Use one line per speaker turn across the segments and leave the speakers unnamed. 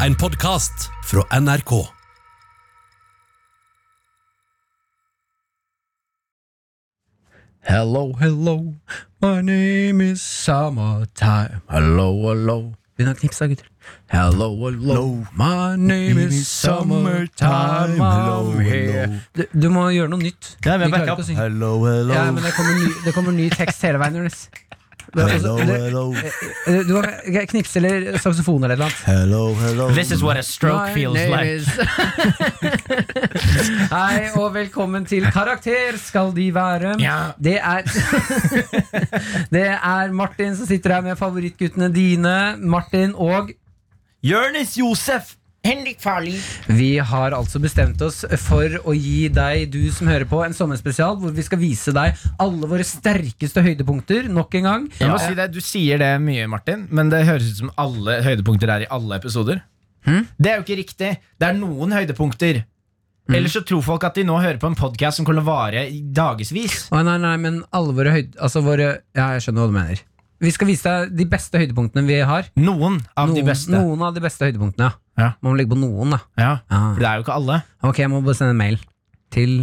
En podcast fra NRK
Hello, hello, my name is summertime. Hello, hello. Begynn å knipse, gutter. Hello, hello, my name is summertime.
Hello,
I'm here.
hello.
Du, du må gjøre noe nytt.
Ja, men
Vi klarer
back
ikke
up.
å synge.
Hello, hello.
Ja, men det kommer ny, det kommer ny tekst hele veien. Jonas. Det er
hello,
også- det-
hello.
eh, Du må knipse eller saksofon eller noe.
Hello, hello.
This is what a stroke feels like.
Hei og velkommen til Karakter skal de være.
Ja.
Det er Det er Martin som sitter her med favorittguttene dine. Martin og
Jonis Josef!
Henrik Farley.
Vi har altså bestemt oss for å gi deg, du som hører på, en sommerspesial hvor vi skal vise deg alle våre sterkeste høydepunkter nok en gang.
Jeg må si det, Du sier det mye, Martin, men det høres ut som alle høydepunkter er i alle episoder.
Hm?
Det er jo ikke riktig. Det er noen høydepunkter.
Hm?
Ellers så tror folk at de nå hører på en podkast som kommer til å vare i dagevis.
Å, nei, nei, men alle våre høyde... Altså våre Ja, jeg skjønner hva du mener. Vi skal vise deg de beste høydepunktene vi har.
Noen av
Noen,
de beste.
noen av de beste høydepunktene, ja.
Ja.
Man må legge på noen, da.
Ja,
Ah.
Ja.
For det er jo ikke alle.
Ok, jeg må bare sende en mail til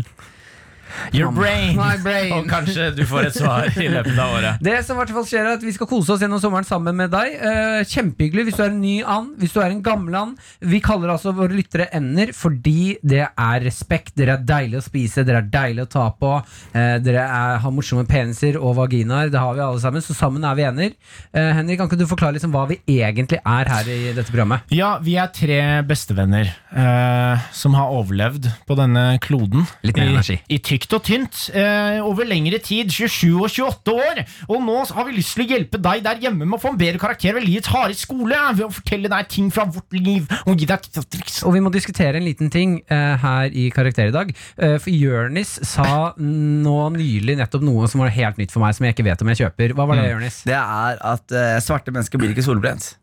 Your brain.
My brain.
Og kanskje du får et svar i løpet av året.
Det som i hvert fall skjer er at Vi skal kose oss gjennom sommeren sammen med deg. Eh, kjempehyggelig hvis du er en ny and, hvis du er en gammel and. Vi kaller altså våre lyttere ender fordi det er respekt. Dere er deilige å spise, dere er deilige å ta på. Eh, dere er, har morsomme peniser og vaginaer. Det har vi alle sammen, så sammen er vi ender. Eh, Henrik, kan ikke du forklare liksom hva vi egentlig er her i dette programmet?
Ja, vi er tre bestevenner eh, som har overlevd på denne kloden.
Litt mer
I-
energi.
I tykt og tynt. Eh, over lengre tid. 27 og 28 år. Og nå har vi lyst til å hjelpe deg der hjemme med å få en bedre karakter ved livets harde skole. eh, Ved å fortelle deg ting fra vårt liv. Og gi deg tips.
Og vi må diskutere en liten ting eh, her i Karakter i dag. Eh, for Jørnis sa nå nylig nettopp noe som var helt nytt for meg, som jeg ikke vet om jeg kjøper. Hva var det, Jørnis?
Det er at eh, svarte mennesker blir ikke solbrent.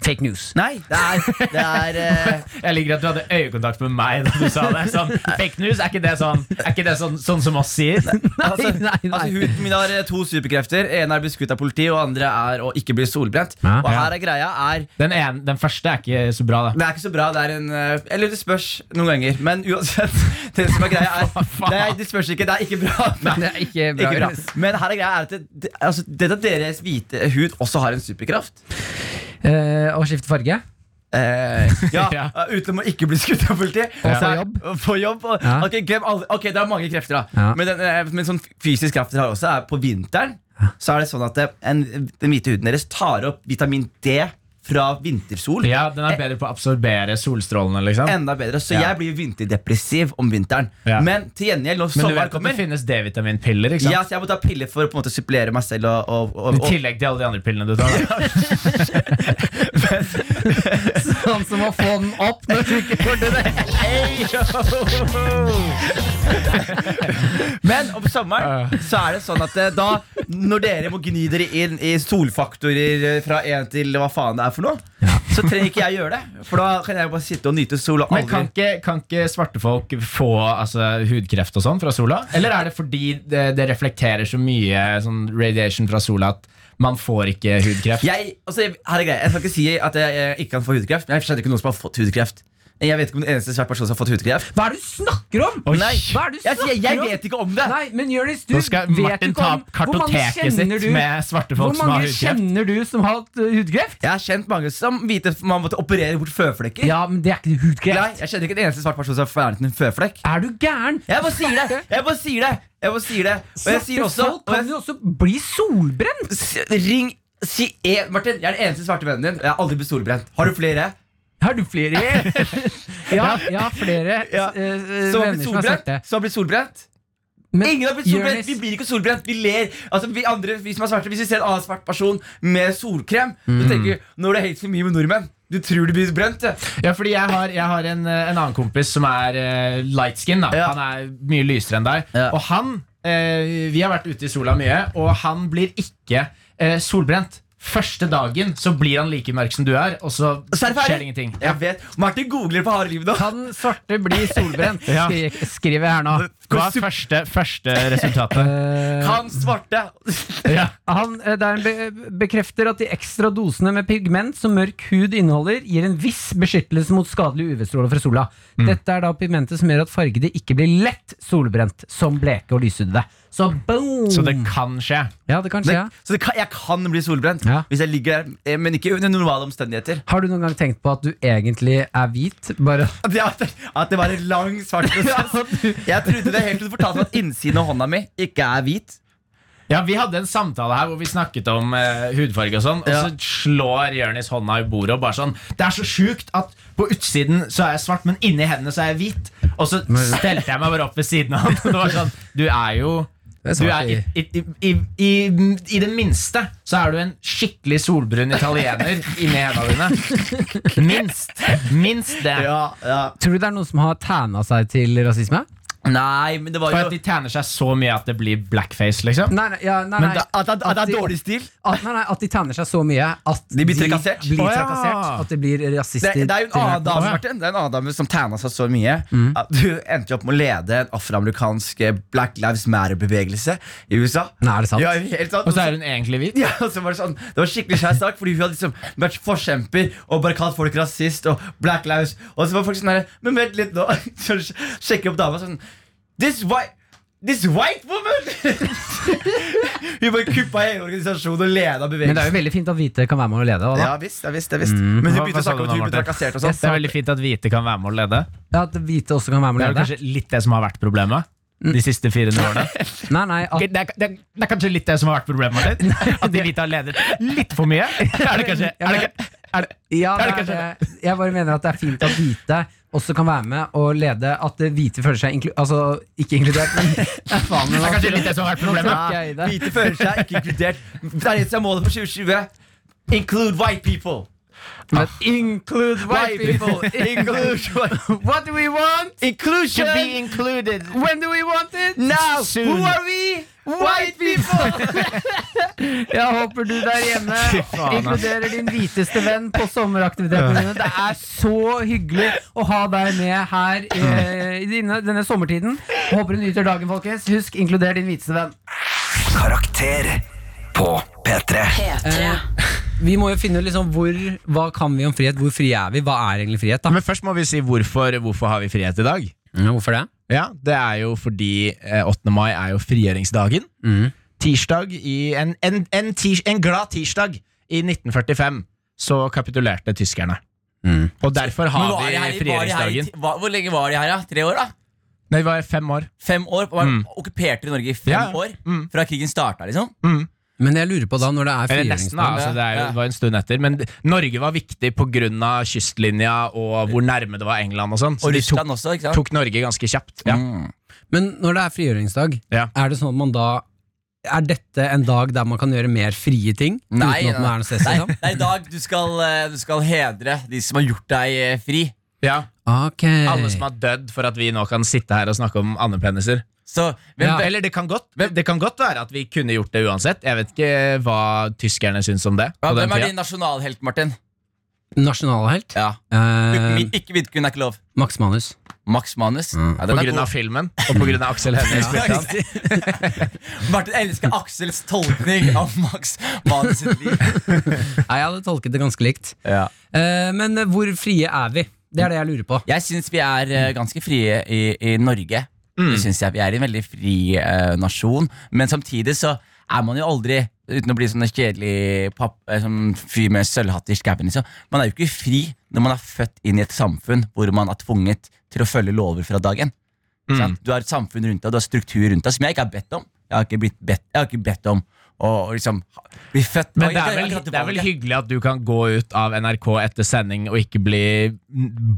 Fake news.
Nei, det er, det er eh,
Jeg liker at du hadde øyekontakt med meg da du sa det. Sånn, fake news, er ikke det sånn, er ikke det sånn, sånn som oss sier?
altså,
nei, nei.
altså, Huden min har eh, to superkrefter. En er å bli skutt av politi, og andre er å ikke bli solbrent.
Ja.
Og her er greia er
Den, ene, den første er ikke så bra, da.
Det er ikke så bra. det er en eh, Eller det spørs noen ganger. Men uansett, det som er greia er Nei, det spørs ikke. Det er ikke bra.
Det er ikke bra.
Ikke bra. Men her er greia er at det, det, altså, det at deres hvite hud også har en superkraft
Eh, å skifte farge?
eh, ja,
Ja.
eh, Utenom å ikke bli skutt av politiet.
Og
Så
få
er-
jobb.
og Få jobb og,
Ja.
ok, glem alle, ok, det er mange krefter, da.
Ja.
Men, den, eh, men sånn fysisk kraft dere har også, er på vinteren Så er det sånn at eh, en, den hvite huden deres tar opp vitamin D fra vintersol.
Ja, Den er bedre på å absorbere solstrålene, liksom.
Enda bedre, Så
Ja.
jeg blir vinterdepressiv om vinteren.
Ja.
Men til gjengjeld, når
Men du
sommeren
vet at det
kommer
finnes D-vitaminpiller, ikke sant?
ja, så Jeg må ta piller for å på en måte supplere meg selv. Og, og,
I
og, og,
tillegg til alle de andre pillene du tar. da.
Sånn som å få den opp når du ikke får det der.
men om sommeren så er det sånn at eh, da, når dere må gni dere inn i solfaktorer eh, fra én til hva faen det er for noe, så trenger ikke jeg gjøre det. For da kan jeg bare sitte og nyte sol og
Men kan
aldri
ikke, kan ikke svarte folk få altså, hudkreft og sånn fra sola? Eller er det fordi det, det reflekterer så mye sånn radiation fra sola at man får ikke hudkreft?
jeg, altså, jeg- her er greia. jeg skal ikke si at jeg, eh, ikke kan få hudkreft, men jeg kjenner ikke noen som har fått hudkreft. Jeg vet ikke om den eneste svart person som har fått hudkreft.
Hva er det du snakker om?!
Oi.
Nei, Hva er det du
Jeg,
snakker
sier, jeg
om?
vet ikke om det!
Nei, men Jonis, du
Nå skal
vet
Martin
jo ikke
ta
om
opp
hvor mange
kartoteket sitt
kjenner du-
med svarte folk
Hvor
som har
mange
hudkreft.
kjenner du som har hatt uh, hudkreft?
Jeg har kjent mange som hvite man måtte operere bort føflekker.
Ja, men det er ikke hudkreft.
Nei, jeg kjenner ikke en eneste svart person som har fjernet en føflekk.
Er du gæren?
Jeg bare sier det! Jeg bare sier det! Jeg bare sier det. Og jeg sier også
Svarte folk
og
kan
jeg,
jo også bli solbrent!
s- Ring si en, Martin, jeg er den eneste svarte vennen din. Jeg har aldri blitt solbrent. Har du flere?
Har du flere? ja, ja, flere
Ja.
eh, eh,
Som har
venner
blitt
som har sagt
solbrent?
det.
Som har blitt solbrent?
Men
Ingen har blitt solbrent!
Jonis-
Vi blir ikke solbrent. Vi ler. Altså, vi andre, vi som er svarte, hvis vi ser en annen svart person med solkrem,
Mm.
så tenker vi nå er det helt for mye med nordmenn. Du tror du blir brent, du.
Ja, fordi jeg har, jeg har en, eh, en annen kompis som er eh, light skin. Da.
Ja.
Han er mye lysere enn deg.
Ja.
Og han eh, Vi har vært ute i sola mye, og han blir ikke eh, solbrent. Første dagen så blir han like mørk som du er, og så
Så er det
skjer det
ferdig.
ingenting.
Jeg vet, Martin googler på harde liv nå.
Kan svarte bli solbrent?
Ja.
Skri- Skriver jeg her nå.
Hva er første, første resultatet?
Eh,
Han svarte.
ja.
han eh, der han be bekrefter at de ekstra dosene med pigment som mørk hud inneholder, gir en viss beskyttelse mot skadelig UV-stråle fra sola.
Mm.
Dette er da pigmentet som gjør at fargede ikke blir lett solbrent, som bleke og lyshudede. Så boom!
Så det kan skje.
ja, det kan skje.
Men,
ja.
Så det kan, jeg kan bli solbrent
Ja.
hvis jeg ligger der, eh, men ikke under normale omstendigheter.
Har du noen gang tenkt på at du egentlig er hvit? Bare
At, jeg- at, at det var en lang svart prosess. Jeg trodde det helt til du fortalte meg at innsiden av hånda mi ikke er hvit.
Ja, Vi hadde en samtale her hvor vi snakket om eh, hudfarge og sånn, og
Ja.
så slår Jonis hånda i bordet og bare sånn Det er så sjukt at på utsiden så er jeg svart, men inni hendene så er jeg hvit. Og så stelte jeg meg bare opp ved siden av han. og Det var sånn, Du er jo
Det er
du
svart
er i, i, i, i, I det minste så er du en skikkelig solbrun italiener inni hendene dine. Minst. Minst det.
Ja, ja.
Tror du det er noen som har tæna seg til rasisme?
Nei, men det var
For at
jo
de tjener seg så mye at det blir blackface, liksom.
Nei, nei, ja, nei, nei.
at, at, at, det er dårlig stil.
At, nei, nei, at de tanner seg så mye at
De blir trakassert.
blir
Å, ja.
trakassert, At de blir
Det,
rasister.
det er jo en annen
tilhørt.
dame Martin Det er en annen dame som tæna seg så mye at du endte jo opp med å lede en afroamerikansk eh, Black Lives Matter-bevegelse i USA.
Nei, er det sant?
Ja, helt sant.
Og så er hun egentlig hvit.
Ja, og så var Det sånn Det var skikkelig skjær sak, fordi hun hadde liksom vært forkjemper og bare kalt folk rasist og black lives. Og så var folk sånn her Men vent litt nå. Så sj- sjekker opp dama sånn This white This white woman! hun bare kuppa hele organisasjonen og leda
Men det er
bevegelsen.
jo veldig fint at hvite kan være med å lede. også,
Ja visst, ja visst. Ja, visst. Men hun
Mm. Hva- hva
begynte å
sa
snakke om at
du nå,
hun ble
Martin?
trakassert og
Jeg
sånn.
Det er veldig fint at hvite kan være med å lede.
da ja, At hvite også kan være med
Det
å
er
lede.
kanskje litt det som har vært problemet
Mm.
de siste 400 årene.
Nei, nei,
Ok,
at,
Det er, det, er, det er kanskje litt det som har vært problemet, Martin. At de hvite har ledet litt for mye. Er det kanskje er det, ka- er det,
ja,
det
det
er
er,
kanskje-
det. jeg bare mener at det er fint at hvite også kan være med å lede. At eh, hvite føler seg inklu altså, ikke inkludert. Men, Nei, faen,
det er
nå-
kanskje litt det som har vært
nå
problemet.
tråkker jeg i det.
Hvite føler seg ikke inkludert. Det er det som er målet for 2020. Include white people.
Men, include white people!
Include white
What do we want?
Inclusion!
included.
When do we want it?
Now!
Soon.
Who are we? White people!
Jeg håper du der hjemme inkluderer din hviteste venn på sommeraktivitetene dine. Det er så hyggelig å ha deg med her eh,
Mm.
i denne, denne sommertiden. Håper du nyter dagen, folkens. Husk, inkluder din hviteste venn.
Karakter på P3.
P3.
Eh, Vi må jo finne ut liksom hvor, hva kan vi om frihet, hvor frie er vi, hva er egentlig frihet? da?
Men først må vi si hvorfor, hvorfor har vi frihet i dag.
Mm,
hvorfor det?
Ja, Det er jo fordi eh, 8. mai er jo frigjøringsdagen.
Mm.
Tirsdag i en, en, en, tirs, en glad tirsdag i 1945 så kapitulerte tyskerne. Og derfor har
Mm. var
vi
de her i- var de her i-
frigjøringsdagen.
hva- Hvor lenge var de her, da? Tre år, da?
Nei, det var fem år. Mm.
Fem år? Var Okkuperte de Norge i fem
Ja, ja.
år?
Mm.
Fra krigen starta, liksom?
Men jeg lurer på da, når det er
Eller nesten, da. Altså, det, er jo, det var en stund etter. Men d- Norge var viktig pga. kystlinja og hvor nærme det var England og sånn. Så
Og
de tok,
Russland også, ikke sant? Mm.
tok Norge ganske kjapt. Ja.
Men når det er frigjøringsdag,
Ja.
er det sånn at man da Er dette en dag der man kan gjøre mer frie ting?
Nei,
uten at man
nei.
er noe stress?
Nei,
Liksom?
det er i dag du skal, eh, du skal hedre de som har gjort deg eh, fri.
Ja.
Okay.
Alle som har dødd for at vi nå kan sitte her og snakke om andepeniser.
Så hvem
Ja.
Ja. Eller det kan, godt, det kan godt være at vi kunne gjort det uansett. Jeg vet ikke hva tyskerne syns om det.
ja,
på den
hvem er
tida.
din nasjonalhelt, Martin?
Nasjonalhelt?
Ja.
Eh,
Min, ikke Vidkun er ikke lov.
Max Manus.
Max Manus. Ja, den
Mm. På
er
grunn
god.
av filmen og på grunn av Aksel Hennie. spilte han.
Martin elsker Aksels tolkning av Max Manus sitt liv.
Nei, jeg hadde tolket det ganske likt.
Ja.
Eh, men eh, hvor frie er vi? Det er det jeg lurer på.
Jeg syns vi er eh, ganske frie i, i Norge.
Mm.
Det synes jeg Vi er en veldig fri eh, nasjon. Men samtidig så er man jo aldri, uten å bli sånn en kjedelig papp, eh, sånn fyr med sølvhatt i skauen, liksom. Man er jo ikke fri når man er født inn i et samfunn hvor man er tvunget til å følge lover fra dagen. Mm. Du har et samfunn rundt deg, du har struktur rundt deg som jeg ikke har bedt om. Jeg har ikke, blitt bedt, jeg har ikke bedt om å å liksom ha- bli født
Men
Jeg
det
har
er,
ikke
vel,
hatt
det er vel
valget.
hyggelig at du kan gå ut av NRK etter sending og ikke bli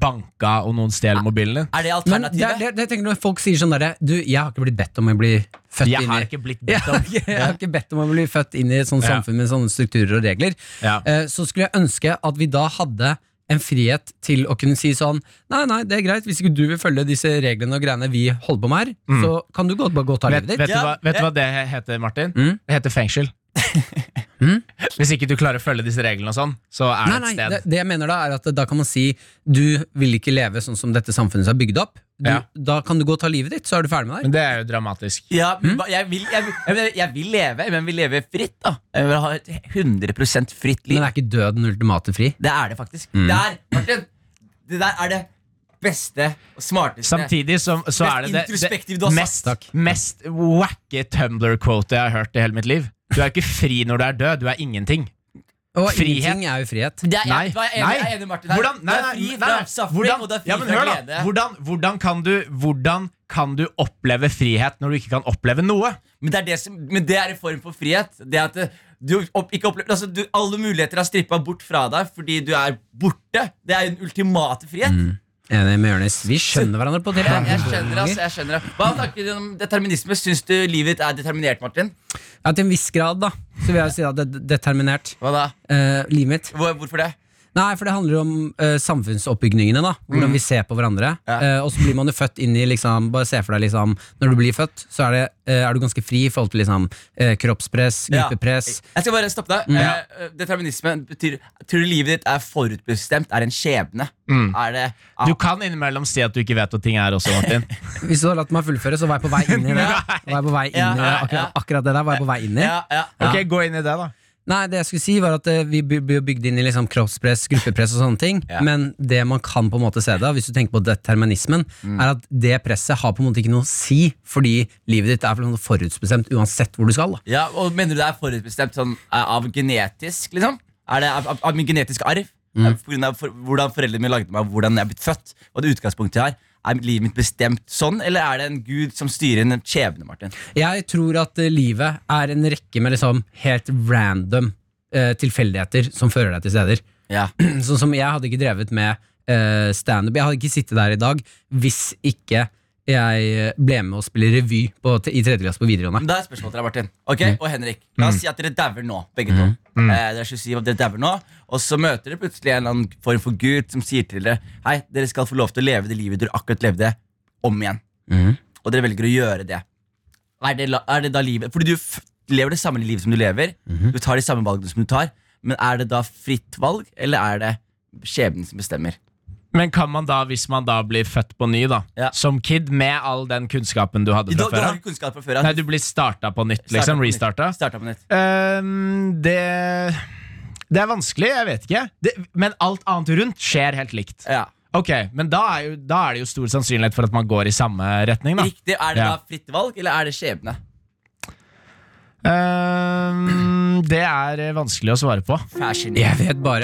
banka og noen
Ah,
stjeler mobilen din.
Er
Men
det
det,
alternativet?
er- det, det tenker jeg når folk sier sånn derre Du, jeg har ikke blitt bedt om å bli født
Jeg
inn
har
i
ikke blitt
jeg
bedt
har,
om
ikke, jeg har ikke bedt om å bli født inn i et sånt
Ja.
samfunn med sånne strukturer og regler.
Ja.
Eh, Så skulle jeg ønske at vi da hadde en frihet til å kunne si sånn Nei, nei, det er greit, hvis ikke du vil følge disse reglene og greiene vi holder på med her, så kan du godt bare gå og ta
Vet,
livet ditt.
vet, du
Ja,
hva, vet du
jeg-
hva det heter, Martin?
Mm.
Det heter fengsel.
Mm? Hvis ikke du klarer å følge disse reglene og sånn, så er
Nei,
det et
nei,
sted.
det, det jeg mener da er at da kan man si du vil ikke leve sånn som dette samfunnet er bygd opp. Du,
Ja.
Da kan du gå og ta livet ditt, så er du ferdig med deg.
Men det er jo dramatisk.
Ja, men hva- jeg, vil, jeg, vil- jeg, vil- jeg vil leve, men jeg vil leve fritt. da Jeg vil ha et 100 fritt liv.
Men er ikke død den ultimate fri?
Det er det faktisk.
Mm.
Det er, Martin, det der er det beste og smarteste
Samtidig som, så
Mest
er det det,
introspektiv du
det
har
mest,
sagt.
mest wacky Tumblr-quote jeg har hørt i hele mitt liv. Du er jo ikke fri når du er død, du er ingenting.
Og
Frihet.
ingenting er jo frihet.
Det er,
Nei,
jeg, jeg, er enig,
nei.
jeg er enig, Martin. her.
Hvordan, nei,
du er
nei,
fri
nei,
fra
nei.
suffering,
Hvordan,
og du er fri
ja, men
fra
hør da.
glede.
Hvordan, hvordan, kan du, hvordan kan du oppleve frihet når du ikke kan oppleve noe?
Men det er, det som, men det er en form for frihet. Det at eh, du opp, ikke opplever, altså, du, Alle muligheter er strippa bort fra deg fordi du er borte. Det er jo den ultimate frihet.
Mm.
Enig med Jonis. Vi skjønner hverandre på det.
Jeg, jeg skjønner, altså, jeg skjønner det. Hva tanker du om determinisme? Syns du livet ditt er determinert, Martin?
Ja, til en viss grad, da. Så vil jeg si at det er determinert.
Hva da?
eh, livet mitt.
Hvor, hvorfor det?
Nei, for det handler om eh, samfunnsoppbygningene, da. Hvordan vi ser på hverandre.
Mm. Ja.
Eh, og så blir man jo født inn i liksom Bare se for deg, liksom Når du blir født, så er, det, eh, er du ganske fri i forhold til liksom eh, kroppspress,
Ja.
gruppepress.
Jeg skal bare stoppe
Mm.
deg. Eh, determinisme betyr Tror du livet ditt er forutbestemt? Er en skjebne? Er det ah,
Du kan innimellom si at du ikke vet hva ting er også, Martin.
Hvis du hadde latt meg fullføre, så var jeg på vei inn i det. Var jeg på vei inn i det.
Ja, ja, ja.
Akkurat, akkurat det der var jeg på vei inn i.
ja, ja.
Ok, Gå inn i det, da.
Nei, det jeg skulle si var at eh, vi by- blir jo bygd inn i liksom kroppspress, gruppepress og sånne ting. Men det man kan på en måte se det av, hvis du tenker på determinismen, er at det presset har på en måte ikke noe å si, fordi livet ditt er for- forutbestemt uansett hvor du skal. Da.
Ja, og Mener du det er forutbestemt sånn, eh, av genetisk? liksom? Er det av, av, av min genetiske arv?
Mm.
Eh, På grunn av for, hvordan foreldrene mine lagde meg, hvordan jeg er blitt født? Og det utgangspunktet jeg har Er livet mitt bestemt sånn, eller er det en gud som styrer en skjebne? Martin?
Jeg tror at eh, livet er en rekke med liksom helt random eh, tilfeldigheter som fører deg til steder.
Ja,
Sånn som jeg hadde ikke drevet med eh, standup. Jeg hadde ikke sittet der i dag hvis ikke jeg ble med og spille revy på, i tredje klasse på videregående.
men Da er spørsmålet til deg, Martin. Ok,
Mm.
Og Henrik. La oss si at dere dauer nå, begge to. Eh, dere er 27, og dere dauer nå Og så møter dere plutselig en eller annen form for gud som sier til dere Hei, dere skal få lov til å leve det livet dere akkurat levde, om igjen.
Mm.
og dere velger å gjøre det. Er det, la- er det da livet Fordi du f lever det samme livet som du lever.
Mhm.
Du tar de samme valgene som du tar. Men er det da fritt valg, eller er det skjebnen som bestemmer?
Men kan man da, hvis man da blir født på ny, da,
Ja.
som kid, med all den kunnskapen du hadde
Du, du
fra før
har
av?
ikke kunnskap fra før av.
Nei, du blir starta på nytt, liksom? Restarta?
Starta på nytt.
Ehm, det Det er vanskelig, jeg vet ikke. Det, men alt annet rundt skjer helt likt.
Ja.
Ok, Men da er, jo, da er det jo stor sannsynlighet for at man går i samme retning, da.
Riktig, Er det
Ja.
da fritt valg, eller er det skjebne?
Ehm, det er eh, vanskelig å svare på.
Fashion.
Jeg vet bare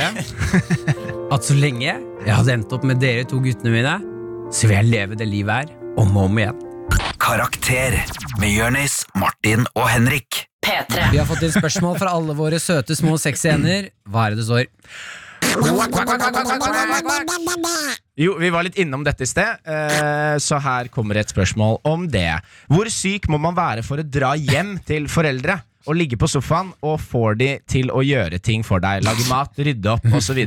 at så lenge jeg hadde endt opp med dere to guttene mine, så vil jeg leve det livet her om og om igjen.
Karakter med Jørnis, Martin og Henrik.
P3.
Vi har fått inn spørsmål fra alle våre søte, små, sexy ender. Hva er det det står?
Jo, Vi var litt innom dette i sted, eh, så her kommer et spørsmål om det. Hvor syk må man være for å dra hjem til foreldre og ligge på sofaen og får de til å gjøre ting for deg? Lage mat, rydde opp osv.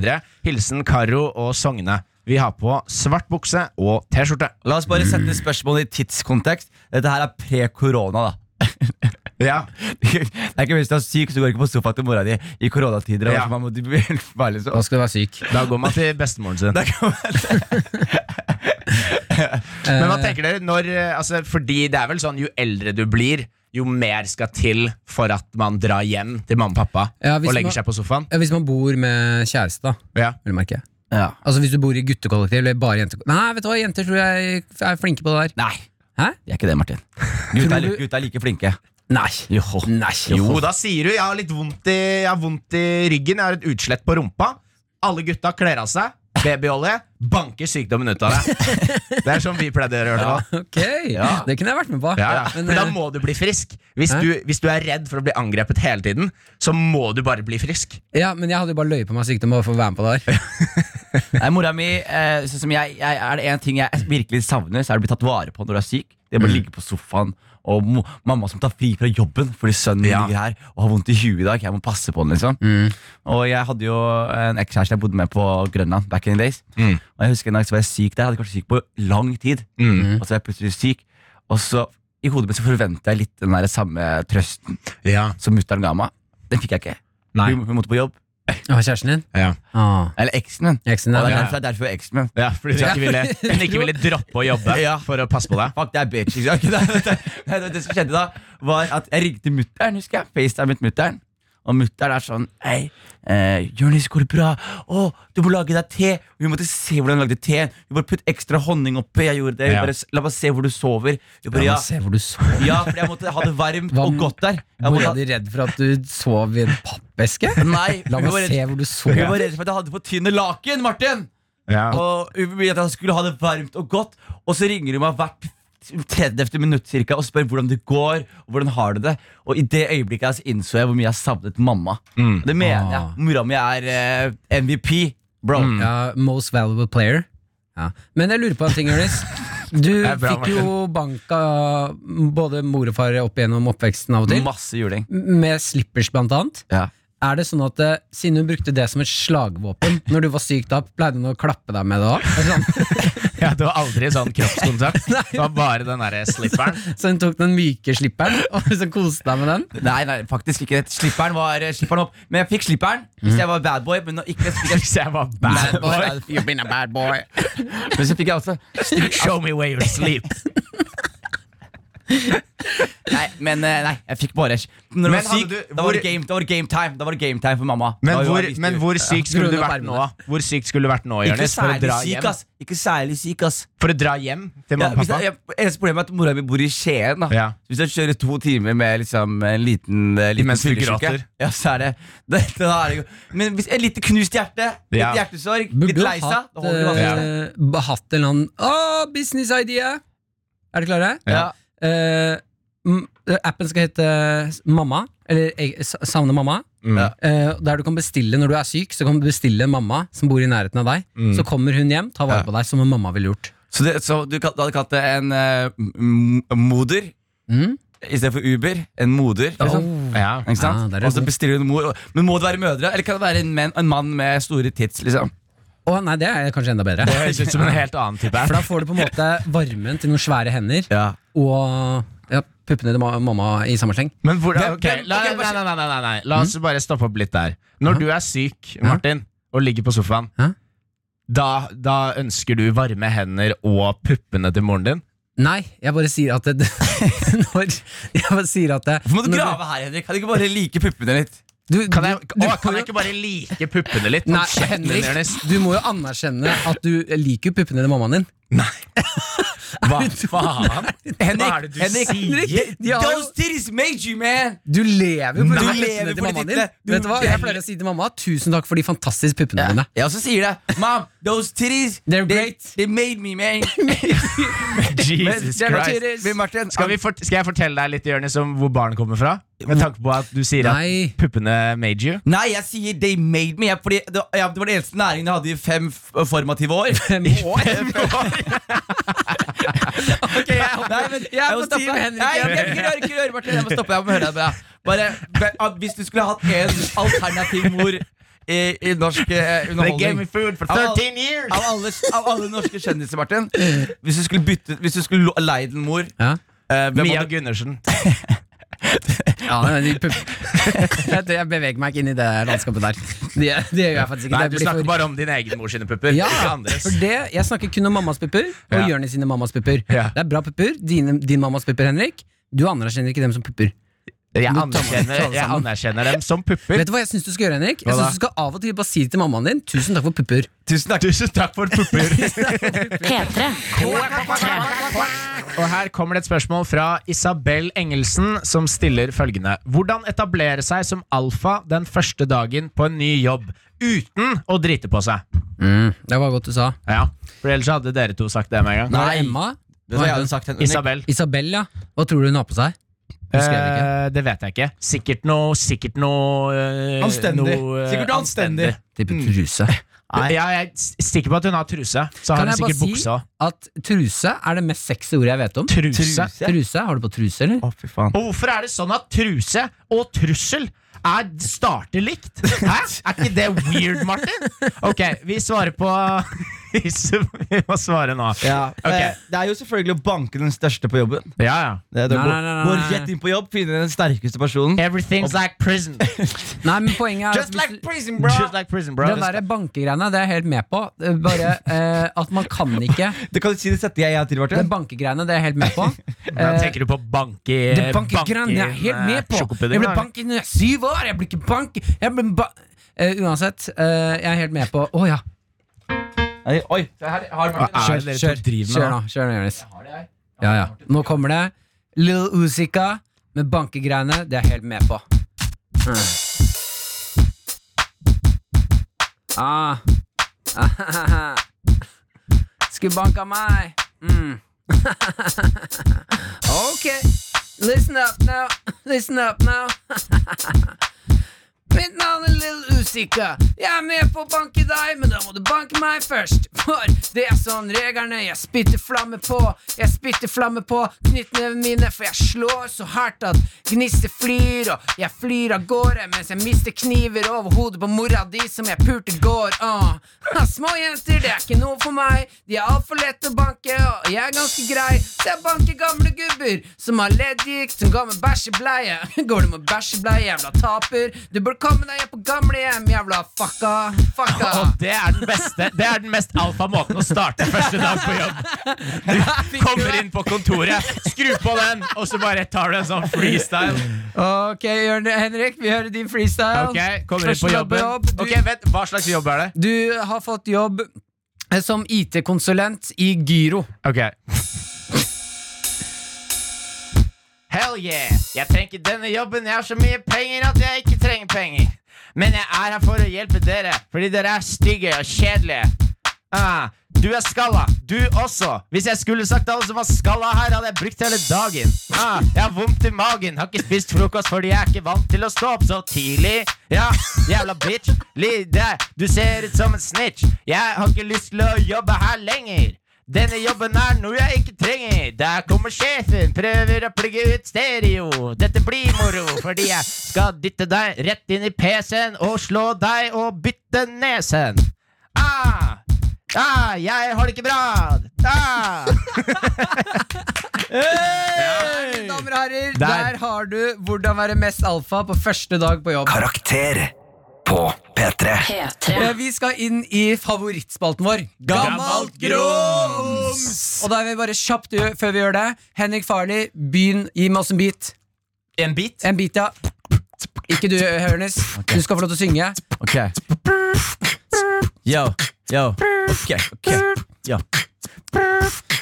Hilsen Karo og Sogne. Vi har på svart bukse og T-skjorte.
La oss bare sette spørsmålet i tidskontekst. Dette her er pre-korona, da.
Ja,
Det er ikke Hvis du er syk, så går du ikke på sofaen til mora di i koronatider. og
Ja.
man må- du blir helt farlig, så-
Da skal du være syk.
Da går man til bestemoren sin. Men hva tenker dere når eh, altså, Fordi det er vel sånn, jo eldre du blir, jo mer skal til for at man drar hjem til mamma og pappa
Ja, hvis
og
man-
legger seg på sofaen.
Ja, Hvis man bor med kjæreste, da.
Ja.
Vil du merke. Altså Hvis du bor i guttekollektiv eller bare jentekollektiv Nei, vet du hva, jenter tror jeg er flinke på det der.
Nei,
Hæ?
det er ikke det, Martin. Gutta er,
Tror du-
gutta er like flinke.
Nei.
Jo.
Nei.
Jo, da sier du 'jeg har litt vondt i, jeg har vondt i ryggen, jeg har et utslett på rumpa'. Alle gutta kler av seg, babyolje, banker sykdommen ut av deg. Det er sånn vi pleide å gjøre det.
Ok, det kunne jeg vært med på.
Ja, ja.
Men,
For da
eh,
må du bli frisk. Hvis
Hæ?
du, hvis du er redd for å bli angrepet hele tiden, så må du bare bli frisk.
ja, men jeg hadde jo bare løyet på meg sykdom bare for å være med på det der.
Nei, mora mi, eh, sånn som jeg, jeg, er det en ting jeg virkelig savner, så er det å bli tatt vare på når du er syk. Det er bare å ligge på sofaen, og mo mamma som tar fri fra jobben fordi sønnen min ligger her og har vondt i huet i dag. Jeg må passe på den, liksom. Og jeg hadde jo en ekskjæreste jeg bodde med på Grønland back in the days. Og jeg husker en dag så var jeg syk der. Jeg hadde ikke vært syk på lang tid.
Mm.
Og så er jeg plutselig syk, og så i hodet mitt så forventa jeg litt den der samme trøsten som mutter'n ga meg. Den fikk jeg ikke.
Nei.
Hun, hun måtte på jobb.
Å, kjæresten din?
Ja.
Ah,
Eller eksen min.
eksen din?
Og det er
Ja.
derfor- det er derfor jeg er eksen min.
Ja, fordi hun ikke, ville- hun ikke ville droppe å jobbe
Ja.
for å passe på deg.
Fuck that bitch. Ikke sant? Det, det, det, det som skjedde da, var at jeg ringte mutter'n, husker jeg. FaceTimet mutter'n. Og mutter'n er sånn Hei, eh, Jonis, går det bra? Å, du må lage deg te. Og Hun måtte se hvordan hun lagde teen. Hun bare putt ekstra honning oppi. Jeg gjorde det. Hun
Ja.
Bare, La meg se hvor du sover. Hun bare,
La
ja,
meg se hvor du sover.
ja, for jeg måtte ha det varmt
Hva-
og godt der. Jeg
Ble
måtte,
de redd for at du sov i en pappeske?
ha- nei,
La
hun
meg
var redd-
se hvor du
hun
sov.
var redd for at jeg hadde for tynne laken, Martin! Og hun ville at jeg skulle ha det varmt og godt. Og så ringer hun meg hvert 30. minutt cirka, og spør hvordan det går. Og hvordan har du det Og i det øyeblikket altså, innså jeg hvor mye jeg savnet mamma. Og Det mener jeg.
Ah. Mm.
Mora mi er eh, MVP, bro.
Ja, most valuable player. Ja. Men jeg lurer på en ting, Jonis. Du
er bra,
fikk jo banka både mor og far opp gjennom oppveksten av og til.
Masse juling.
Med slippers, blant annet.
Ja.
Er det sånn at eh, Siden hun brukte det som et slagvåpen når du var syk, da pleide hun å klappe deg med det òg? Sånn.
Ja, det var aldri sånn kroppskontakt. Det var bare den derre slipperen.
Så hun tok den myke slipperen og så koste deg med den?
Nei, nei, faktisk ikke. Slipperen var eh, slipperen opp. Men jeg fikk slipperen hvis
Mm.
jeg var bad boy. Men, nå ikke,
Hvis jeg var bad boy.
You've been a bad boy. men så fikk jeg også
Show me where you sleep.
Nei, men eh, nei, jeg fikk bare Når du
Men
var syk,
hadde du-
da, var det
hvor-
game, da var det game time. Da var det game time for mamma.
Men
Da var
hvor,
hun viste
men
ut.
hvor syk skulle du
Grunnet
vært nå? Hvor syk skulle du vært nå,
Ikke
Jonis? For, å
særlig
dra
syk,
hjem?
ass. Ikke særlig syk, ass.
for å dra hjem til
Ja,
mamma og
hvis
pappa?
jeg, jeg, eneste problemet er at mora mi bor i Skien. Da.
Ja.
Hvis jeg kjører to timer med liksom, en liten, eh, liten
Mens du
fyllesyke,
gråter.
ja, så er det, det, det da er det jo. Men hvis et lite knust hjerte, litt
Ja.
hjertesorg,
Burde
litt
du
lei seg
hatt,
da holder det
eh,
vanskelig.
b- hatt en eller annen Åh, business idea! Er dere klare?
Ja.
Eh, m- appen skal hete Mamma, eller eh, S- Savne mamma.
Mm.
Ja.
Eh, der du kan bestille når du er syk, så kan du bestille en mamma som bor i nærheten av deg.
Mm.
Så kommer hun hjem, tar vare på deg som en mamma ville gjort.
Så, det, så du, kan- du hadde kalt det en eh, m- moder
Mm.
istedenfor Uber? En moder? Liksom.
Ja.
Ikke
Ah,
sant?
der er
og så
god.
bestiller hun en mor. og- Men må det være mødre, eller kan det være en, menn- en mann med store tits? Liksom?
Å, nei, det er kanskje enda bedre.
Det høres ut som en helt annen type
For da
app.
får du på en måte varmen til noen svære hender, og ja, puppene til ma mamma i samme sleng.
Men hvordan, ok,
hvem-
la,
ok,
nei,
bare-
nei, nei, nei, nei, nei. La oss bare stoppe opp litt der. Når du er syk, Martin, og ligger på sofaen,
Hæ?
da, da ønsker du varme hender og puppene til moren din?
Nei, jeg bare sier at det, når, Jeg bare sier at det,
Hvorfor må du
når du-
grave her, Henrik? Kan du ikke bare like puppene litt?
Du,
Kan jeg,
du- du
å,
får
kan
jo-
jeg ikke bare like puppene litt?
Nei,
Mot kjeften din,
Henrik,
Jonis?
du må jo anerkjenne at du liker jo puppene til mammaen din.
Hva faen? Hva er det du sier?
de har jo-
Those titties made you, man!
Du lever jo for
Nei,
puppene
lever
til
for
mammaen
de
din.
tittene. Du-
Vet du hva, Jeg pleier å si til mamma tusen takk for de fantastiske puppene dine.
Jeg også sier det. Mom, those titties,
They're
they,
great.
they made me, man.
Jesus Christ.
Men Martin,
Skal, vi fort skal jeg fortelle deg litt Jørnes, om hvor barnet kommer fra? Med tanke på at du sier
Nei.
at puppene made you.
Nei, jeg sier they made me. Jeg, fordi det, ja, det var den eneste næringen jeg hadde i fem f- formative år.
Fem år?
Ok, jeg, nei, men, jeg,
på
må stoppe.
team Henrik,
Nei,
jeg.
jeg orker, jeg orker, jeg orker, Martin. Jeg må stoppe. Jeg må høre deg. Bea. Bare, be- ah, hvis du skulle hatt en alternativ mor i, i norsk eh,
They gave me
underholdning
food for
Av alle-
13 years!
av alle, av alle norske kjendiser, Martin Hvis du skulle bytte Hvis du skulle lo- leid en mor
Ja.
eh, hvem
Mia
hadde-
Gundersen.
Ja, men de pupp- jeg, tror jeg beveger meg ikke inn i det landskapet der. Det, det gjør jeg faktisk ikke.
Nei,
Det
du
blir for-
snakker bare om din egen mor sine pupper.
ja,
ikke andres.
for det, Jeg snakker kun om mammas pupper og
Ja.
Jørnes sine mammas pupper.
Ja.
Det er bra pupper. Dine, din mammas pupper, Henrik. Du anerkjenner ikke dem som pupper. Nå
Jeg
tar man-
anerkjenner,
tar man
jeg
sammen.
anerkjenner dem som pupper.
Vet du hva jeg syns du skal gjøre, Henrik? Jeg
Hva da?
synes Du skal av og til bare si til mammaen din 'tusen takk for pupper'.
Tusen takk, Tusen takk for pupper.
P3.
Og her kommer det et spørsmål fra Isabel Engelsen, som stiller følgende. Hvordan etablere seg som alfa den første dagen på en ny jobb uten å drite på seg?
Det var godt du sa.
Ja, for ellers hadde dere to sagt det med en gang.
Var det Emma?
Vet du hva jeg hadde sagt? Henrik?
Isabel.
Isabel, ja. Hva tror du hun har på seg? Husker jeg det ikke.
Eh, det vet jeg ikke. Sikkert noe Sikkert noe eh,
Anstendig.
noe, eh,
Sikkert noe anstendig.
Type
Hmm.
truse.
Ja, jeg er s- sikker på at hun har truse. Så
Kan
har hun
jeg bare
sikkert
si-
bukse òg.
At truse er det mest sexy ordet jeg vet om.
Truse?
Truse, Har du på truse, eller?
Å, fy faen.
Og hvorfor er det sånn at truse og trussel er, starter likt? Hæ? Er ikke det weird, Martin? Ok, vi svarer på vi s- Vi må svare nå.
Ja.
Ok.
Eh, Det er jo selvfølgelig å banke den største på jobben.
Ja, ja.
Det er det å
Nei,
gå-
nei, nei, nei,
Gå
nei.
rett inn på jobb, finne den sterkeste personen.
Everything's like prison.
Nei, men poenget er at hvis-
prison, bro. Just like prison, bro.
Den der bankegreiene, det er jeg helt med på. Det er Bare eh, at man kan ikke
Det kan du si det setter jeg jeg til,
Det
Martin.
bankegreiene, det er jeg helt med på. Eh,
Da tenker du på banke...
Det bankegreiene er jeg
eh,
helt med på! Jeg ble banket når jeg er syv år! Jeg ble ikke bank... Jeg ble ba Eh, uansett, eh, jeg er helt med på Å ja.
Nei, Oi, se her har Martin
Kjør, kjør, kjør nå, kjør nå, Jonis. Ja, ja. Nå kommer det. Lill Usika med bankegreiene, det er jeg helt med på. Mm. Ah. Skulle banka meg. Mm. ok. Listen up now. Listen up now. Mitt navn er Lill Usika. Jeg er med på å banke deg, men da må du banke meg først. For det er sånn reglene jeg spytter flamme på. Jeg spytter flamme på knyttnevene mine, for jeg slår så hardt at gnister flyr, og jeg flyr av gårde mens jeg mister kniver over hodet på mora di som jeg pulte går. Ah. Ha, Små jenter, det er ikke noe for meg. De er altfor lette å banke, og jeg er ganske grei. Så jeg banker gamle gubber som har leddgikt, som går med bæsjebleie. Går du med bæsjebleie, jævla taper? Du bør komme deg hjem på gamlehjem, jævla fucka. Fucka.
Og det er den beste Det er den mest alfa måten å starte første dag på jobb. Du kommer inn på kontoret, skru på den, og så bare tar du en sånn freestyle.
Ok, Jørn Henrik, vi hører din freestyle.
Ok, kommer inn på jobben
Du,
Ok, vent, Hva slags jobb er det?
du har fått jobb eh, som IT-konsulent i Gyro.
Ok Hell yeah! Jeg trenger ikke denne jobben. Jeg har så mye penger at jeg ikke trenger penger. Men jeg er her for å hjelpe dere, fordi dere er stygge og kjedelige. Ah, du er skalla, du også. Hvis jeg skulle sagt alle som var skalla her, hadde jeg brukt hele dagen. Ah, jeg har vondt i magen, har ikke spist frokost fordi jeg er ikke vant til å stå opp så tidlig. Ja, jævla bitch. Lide, du ser ut som en snitch. Jeg har ikke lyst til å jobbe her lenger. Denne jobben er noe jeg ikke trenger. Der kommer sjefen, prøver å plugge ut stereo. Dette blir moro, fordi jeg skal dytte deg rett inn i PC-en og slå deg og bytte nesen. Ah! Ah, jeg har det ikke bra! Ah!
Mine damer og herrer, der.
Der.
har du hvordan være mest alfa på første dag på jobb.
Karakter på P3.
Eh, Vi skal inn i favorittspalten vår. Gammalt grums! Og da er vi bare kjapt gjø- før vi gjør det. Henrik Farley, begynn. Gi meg oss en bit.
En bit?
En bit, ja. Ikke du, Hørnes. Du skal få lov til å synge.
Ok Yo, yo Ok, ok Yo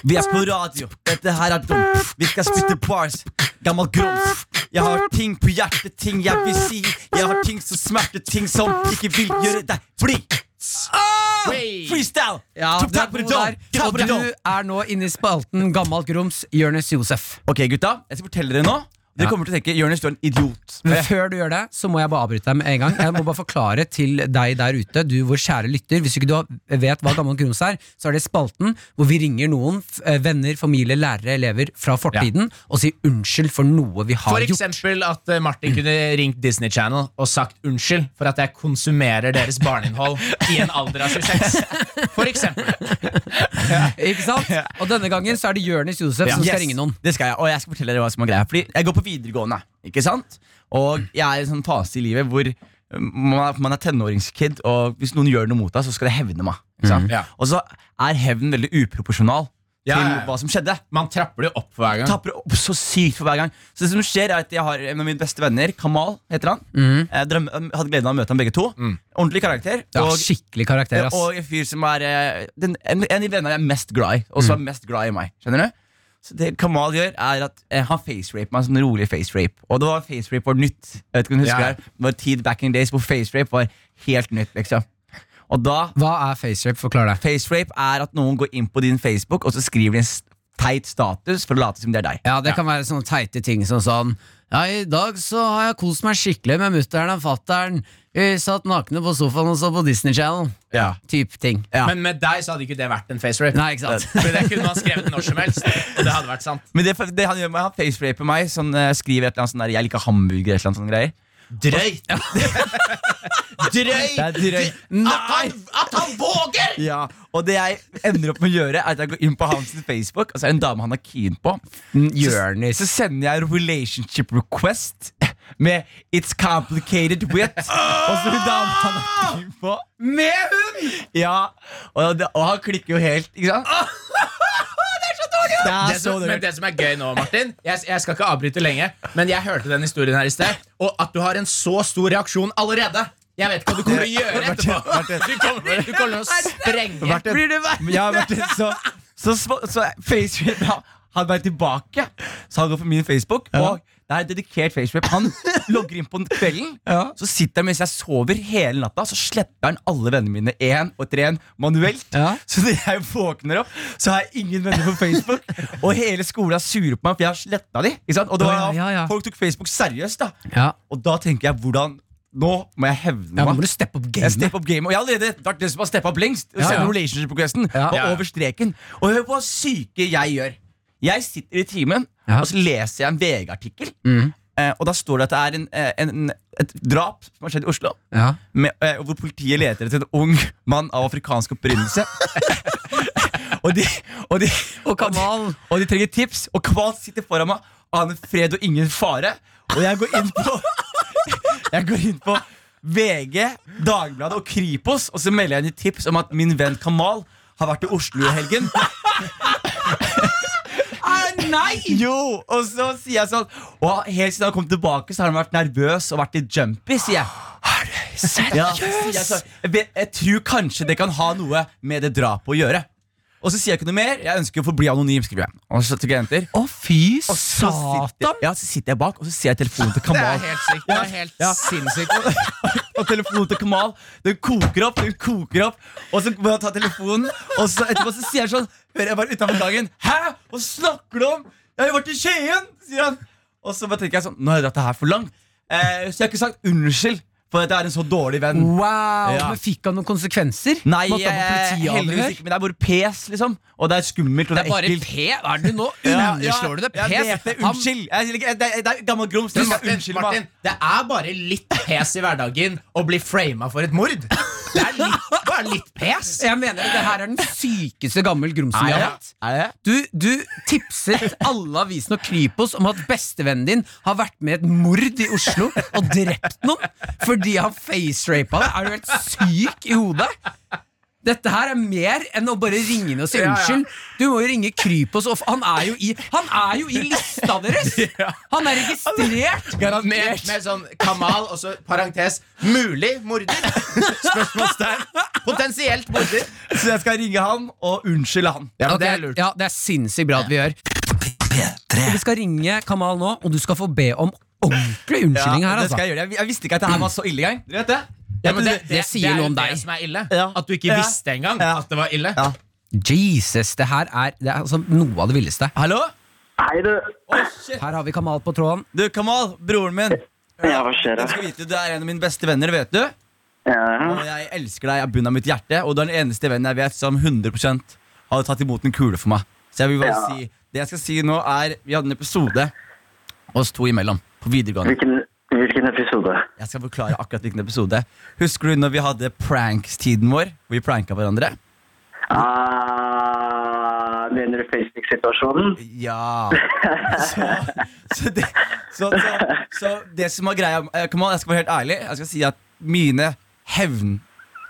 Vi er på radio Dette her er dumt Vi skal spytte bars Gammel grums Jeg har ting på hjertet Ting jeg vil si Jeg har ting som smerter Ting som ikke vil gjøre deg fri Ah! Freestyle
Ja,
To
du er
tap for the
god
dome.
der.
Tap
Og
for the
du
dome.
er nå inne i spalten Gammalt grums, Jonis Josef.
Ok gutta Jeg skal fortelle dere nå Dere kommer til å tenke Jørnes du er en idiot
Men før du gjør det, så må jeg bare avbryte deg med en gang. Jeg må bare forklare til deg der ute, du vår kjære lytter, hvis ikke du har- vet hva Gammel Grums er, så er det spalten hvor vi ringer noen, f- eh, venner, familie, lærere, elever fra fortiden, og sier unnskyld for noe vi har
For
gjort.
eksempel at eh, Martin kunne ringt Disney Channel og sagt unnskyld for at jeg konsumerer deres barneinnhold i en alder av 26. For eksempel.
Ikke sant? Og denne gangen så er det Jonis Josef som skal ringe noen.
Det skal jeg, og jeg skal fortelle dere hva som er greia. Fordi jeg går på videregående, ikke sant? Og jeg er i en sånn fase i livet hvor eh, man er, man er tenåringskid, og hvis noen gjør noe mot deg, så skal det hevne meg. Ikke sant?
Ja.
Og så er hevnen veldig uproporsjonal
Ja,
til
ja, ja.
hva som skjedde.
Man trapper det opp hver gang.
Tapper opp så sykt for hver gang. Så det som skjer er at Jeg har en av mine beste venner, Kamal heter han. Jeg drøm, hadde gleden av å møte ham begge to. Ordentlig karakter.
Ja,
og-
skikkelig karakter, ass.
og en fyr som er eh, den, en, en av de vennene jeg er mest glad i, og
Mm.
som er mest glad i meg. Skjønner du? Så det Kamal gjør, er at eh, han faceraper meg. Sånn rolig facerape. Og det var facerape var nytt. Jeg vet ikke om du husker
Ja.
det Det var tid back in days hvor facerape var helt nytt. liksom Og da
Hva er facerape? Forklar det.
Facerape er at noen går inn på din Facebook og så skriver de en s- teit status for å late som det er deg.
Ja, det kan være sånne teite ting som sånn Ja, i dag så har jeg kost meg skikkelig med mutter'n og fatter'n. Vi satt nakne på sofaen og så på Disney Channel.
Ja.
Type ting.
Men med deg så hadde ikke det vært en facerape.
Nei, ikke sant?
For det kunne man skrevet når som helst. Og det hadde vært sant.
Men det, det han gjør meg, han faceraper meg. Sånn, eh, skriver et eller annet sånn der 'jeg liker hamburger' eller et eller annet sånn greier.
Drøyt! Drøyt!
Det er drøyt.
At han, at han våger!
Ja, og det jeg ender opp med å gjøre, er at jeg går inn på hans Facebook, og så er det en dame han er keen på. Mm, Så, så sender jeg en relationship request med 'It's complicated with'. Og så hun dama han er keen på. Med hun! Ja, og, det, og han klikker jo helt, ikke sant? Det er
Det
så
som,
dårlig!
men det som er gøy nå, Martin jeg, jeg skal ikke avbryte lenge, men jeg hørte den historien her i sted, og at du har en så stor reaksjon allerede. Jeg vet ikke hva du kommer til å gjøre etterpå. Du kommer, du kommer til å sprenge.
Martin, Ja, Martin, så, så, så, så Facebook han- Han er tilbake, så han går på min Facebook. Og det er en dedikert Facebook. Han logger inn på den kvelden. Så sitter han mens jeg sover hele natta, så sletter han alle vennene mine én og etter én manuelt. Så når jeg våkner opp, så har jeg ingen venner på Facebook. Og hele skolen er sure på meg, for jeg har sletta de. Ikke sant? Og det var,
Ja, ja, ja.
Folk tok Facebook seriøst, da.
Ja.
Og da tenker jeg hvordan Nå må jeg hevne
Ja, nå
meg.
må du steppe opp
Jeg
gamet.
step up game, og jeg har allerede vært den som har steppet opp lengst. Ja,
ja.
Relationship-requesten var
Ja, ja.
over streken. Og hør på hva syke jeg gjør. Jeg sitter i timen,
Ja.
og så leser jeg en VG-artikkel. Eh, og da står det at det er en, eh, en, et drap som har skjedd i Oslo.
Ja.
Med, eh, hvor politiet leter etter en ung mann av afrikansk opprinnelse. og, de, og, de,
Og Kamal.
og de trenger tips, og Kval sitter foran meg. Aner fred og ingen fare. Og jeg går inn på Jeg går inn på VG, Dagbladet og Kripos, og så melder jeg inn et tips om at min venn Kamal har vært i Oslo i helgen. Ah, Nei! Jo, og så sier jeg sånn Og helt siden han kom tilbake, så har han vært nervøs og vært litt jumpy, sier jeg. Ja, så sier jeg, sånn, jeg, vet- jeg tror kanskje det kan ha noe med det drapet å gjøre. Og så sier jeg ikke noe mer. Jeg ønsker å forbli anonym. skriver jeg Og så trykker jeg enter.
Å, fy
Og så sitter, ja, så sitter jeg bak, og så ser jeg telefonen til
Det
Kamal.
er helt sykt. Det er helt sinnssykt.
Og telefonen til Kamal Den koker opp, den koker opp. Og så må jeg ta telefonen, og så etterpå så sier han sånn Hører jeg bare utenfor gangen. Hæ? Hva snakker du om? Jeg har jo vært i Skien! Sier han. Og så bare tenker jeg sånn Nå har jeg dratt det her for langt. Eh, så jeg har ikke sagt unnskyld for at jeg er en så dårlig venn.
Wow!
Ja.
Men fikk han noen konsekvenser?
Nei,
Måtte
jeg,
han på
heldigvis
politiavhør?
ikke, men det er bare pes, liksom. Og det er skummelt, og det
Det
er,
er bare
ekkelt.
P. Hva er det nå?
Ja,
Underslår du det?
ja, Jeg vet
Pes?
det. Unnskyld. Jeg, sier ikke- det, det er gammel grums.
Du,
Det er
Martin,
unnskyld,
Martin,
Martin.
det er bare litt pes i hverdagen å bli frama for et mord. Det er litt, bare litt pes.
Jeg mener det her er den sykeste gammel grumsen vi har hatt.
Er det?
Du, du tipset alle avisene og Kripos om at bestevennen din har vært med i et mord i Oslo og drept noen fordi han facerapa deg. Er du helt syk i hodet? Dette her er mer enn å bare ringe inn og si unnskyld. Du må jo ringe Kripos. Og f- han er jo i, han er jo i lista deres! Han er registrert!
Med, med sånn Kamal, og så parentes mulig morder. Spørsmålstegn. Potensielt morder.
Så jeg skal ringe han og unnskylde han.
Ja,
Ok, Ja, det er sinnssykt bra at vi gjør.
P3
Vi skal ringe Kamal nå, og du skal få be om ordentlig unnskyldning her.
Ja, det skal
altså
jeg, gjøre. jeg, jeg visste ikke at det her var så ille engang. Dere vet det?
Ja, men
det sier
er
noe
jo
om deg.
Det som er ille.
Ja.
At du ikke
Ja.
visste engang
Ja.
at det var ille.
Ja.
Jesus, det her er, det er altså noe av det villeste.
Hallo?
Hei, du.
Å, shit.
Her har vi Kamal på tråden.
Du, Kamal, broren min.
Ja, hva skjer
Du
da?
skal vite du er en av mine beste venner, vet du. Og
Ja,
jeg elsker deg av bunnen av mitt hjerte, og du er den eneste vennen jeg vet som 100 hadde tatt imot en kule for meg. Så jeg vil bare
Ja.
si Det jeg skal si nå, er Vi hadde en episode oss to imellom på videregående.
hvilken, hvilken episode?
Jeg skal forklare akkurat hvilken episode. Husker du når vi hadde pranks-tiden vår? Hvor vi pranka hverandre?
Ah, mener du Facebook-situasjonen?
Ja Så, så, det, så, så, så det som er greia eh, Kamal, jeg skal være helt ærlig Jeg skal si at mine hevn,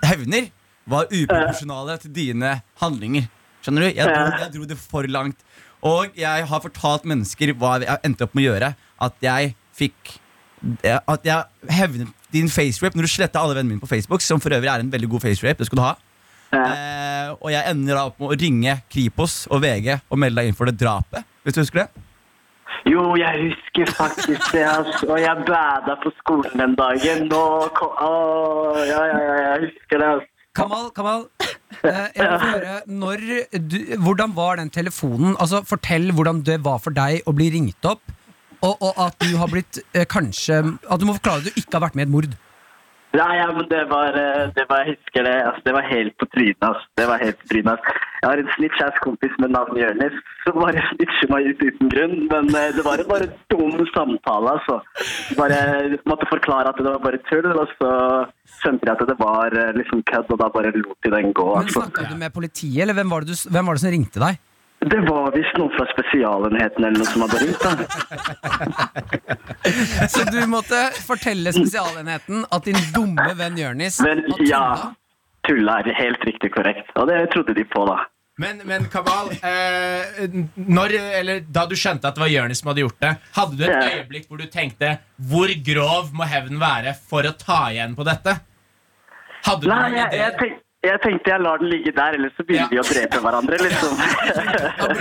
hevner Var uproporsjonale til dine handlinger Skjønner du? Jeg dro, jeg dro det for langt Og jeg har fortalt mennesker Hva jeg endte opp med å gjøre At jeg fikk eh, At jeg hevnet din facerape Når du slettet alle vennene mine på Facebook Som for øvrig er en veldig god facerape Det skal du ha Eh, og jeg ender da opp med å ringe Kripos og VG og melde deg inn for det drapet. Hvis du husker det?
Jo, jeg husker faktisk det, ass. Og jeg bada på skolen den dagen. Nå kom... Åh, ja, ja, ja, jeg husker det, ass.
Kamal, Kamal. eh, Jeg vil få høre, når du, hvordan var den telefonen? Altså, Fortell hvordan det var for deg å bli ringt opp, og, og at du har blitt eh, kanskje At du må forklare at du ikke har vært med i et mord.
Altså, Nei, ja, men det altså. var, eh, det var Jeg husker det. ass. det var helt på trynet. ass. Det var helt på trynet. ass. Jeg har en snitchass kompis med navn Jonis som bare snitcher meg ut uten grunn. Men eh, det var en bare dum samtale, altså. Bare måtte forklare at det var bare tull, og så skjønte jeg at det var eh, liksom kødd, og da bare lot de den gå.
Men
Altså.
Snakka du med politiet, eller hvem var det, du, hvem var det som ringte deg?
Det var visst noen fra Spesialenheten eller noe som hadde ringt, da.
Så du måtte fortelle Spesialenheten at din dumme venn Jonis
Men ja, tulla er helt riktig korrekt. Og det trodde de på, da.
Men, men Kamal, eh, når, eller, da du skjønte at det var Jonis som hadde gjort det, hadde du et
Ja.
øyeblikk hvor du tenkte hvor grov må hevnen være for å ta igjen på dette? Hadde du
Nei,
noen
jeg, jeg,
ideer?
tenk, jeg tenkte jeg lar den ligge der, ellers så begynner vi å drepe hverandre, liksom.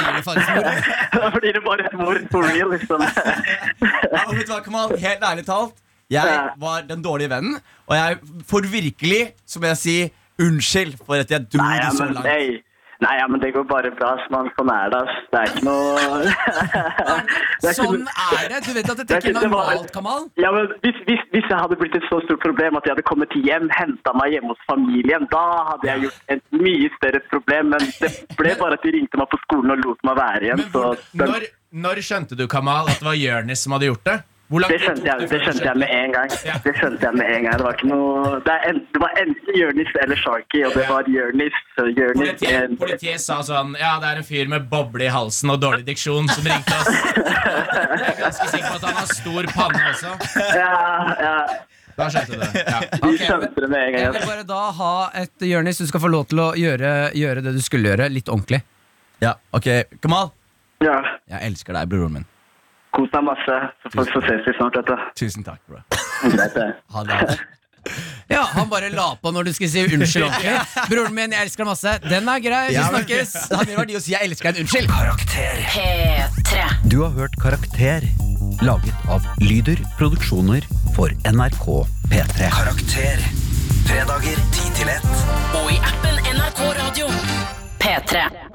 da blir det bare et mord for real, liksom.
Ja, og vet du hva, Kamal? Helt ærlig talt, jeg var den dårlige vennen, og jeg får virkelig, som jeg sier, unnskyld for at jeg dro
Nei, ja,
det så
men,
langt.
hey. Nei, ja, men det går bare bra, ass, man. Sånn er det, ass. Det er ikke noe Det er ikke
Sånn
noe-
er det! Du vet at dette
Det
ikke
er ikke-
er
det var-
normalt, Kamal.
Ja, men hvis, hvis, hvis jeg hadde blitt et så stort problem at jeg hadde kommet hjem, henta meg hjemme hos familien, da hadde jeg gjort et mye større problem. Men det ble bare at de ringte meg på skolen og lot meg være igjen.
Men
Så
hvor,
den,
når, når skjønte du, Kamal, at det var Jonis som hadde gjort det? Hvor lang
Det
tid
skjønte,
tok
jeg,
det
det
før du
skjønte jeg med en gang.
Ja.
Det skjønte jeg med en gang. Det var ikke noe Det, er en, det var enten Jonis eller Sharky, og det
Ja.
var Jonis. så Jonis
Politiet, politiet sa sånn Ja, det er en fyr med boble i halsen og dårlig diksjon som ringte oss. Jeg er ganske sikker på at han har stor panne også.
Ja, ja.
Da skjønte du det. Ja.
De skjønte det med en
Jeg
gang.
vil bare da ha et Jonis, du skal få lov til å gjøre, gjøre det du skulle gjøre, litt ordentlig.
Ja, ok, Kamal,
Ja.
jeg elsker deg, broren min.
Kos deg masse, så, får- så ses vi snart, vet du.
Tusen takk, bro.
Greit, det.
Ha det.
Ja, Han bare la på når du skulle si unnskyld ordentlig. Broren min, jeg elsker deg masse. Den er grei, vi snakkes.
Det har mer verdi å si 'jeg elsker deg' enn 'unnskyld'.
P3.
Du har hørt Karakter, laget av Lyder Produksjoner for NRK P3.
Karakter. Fredager 10 til 1.
Og i appen NRK Radio. P3.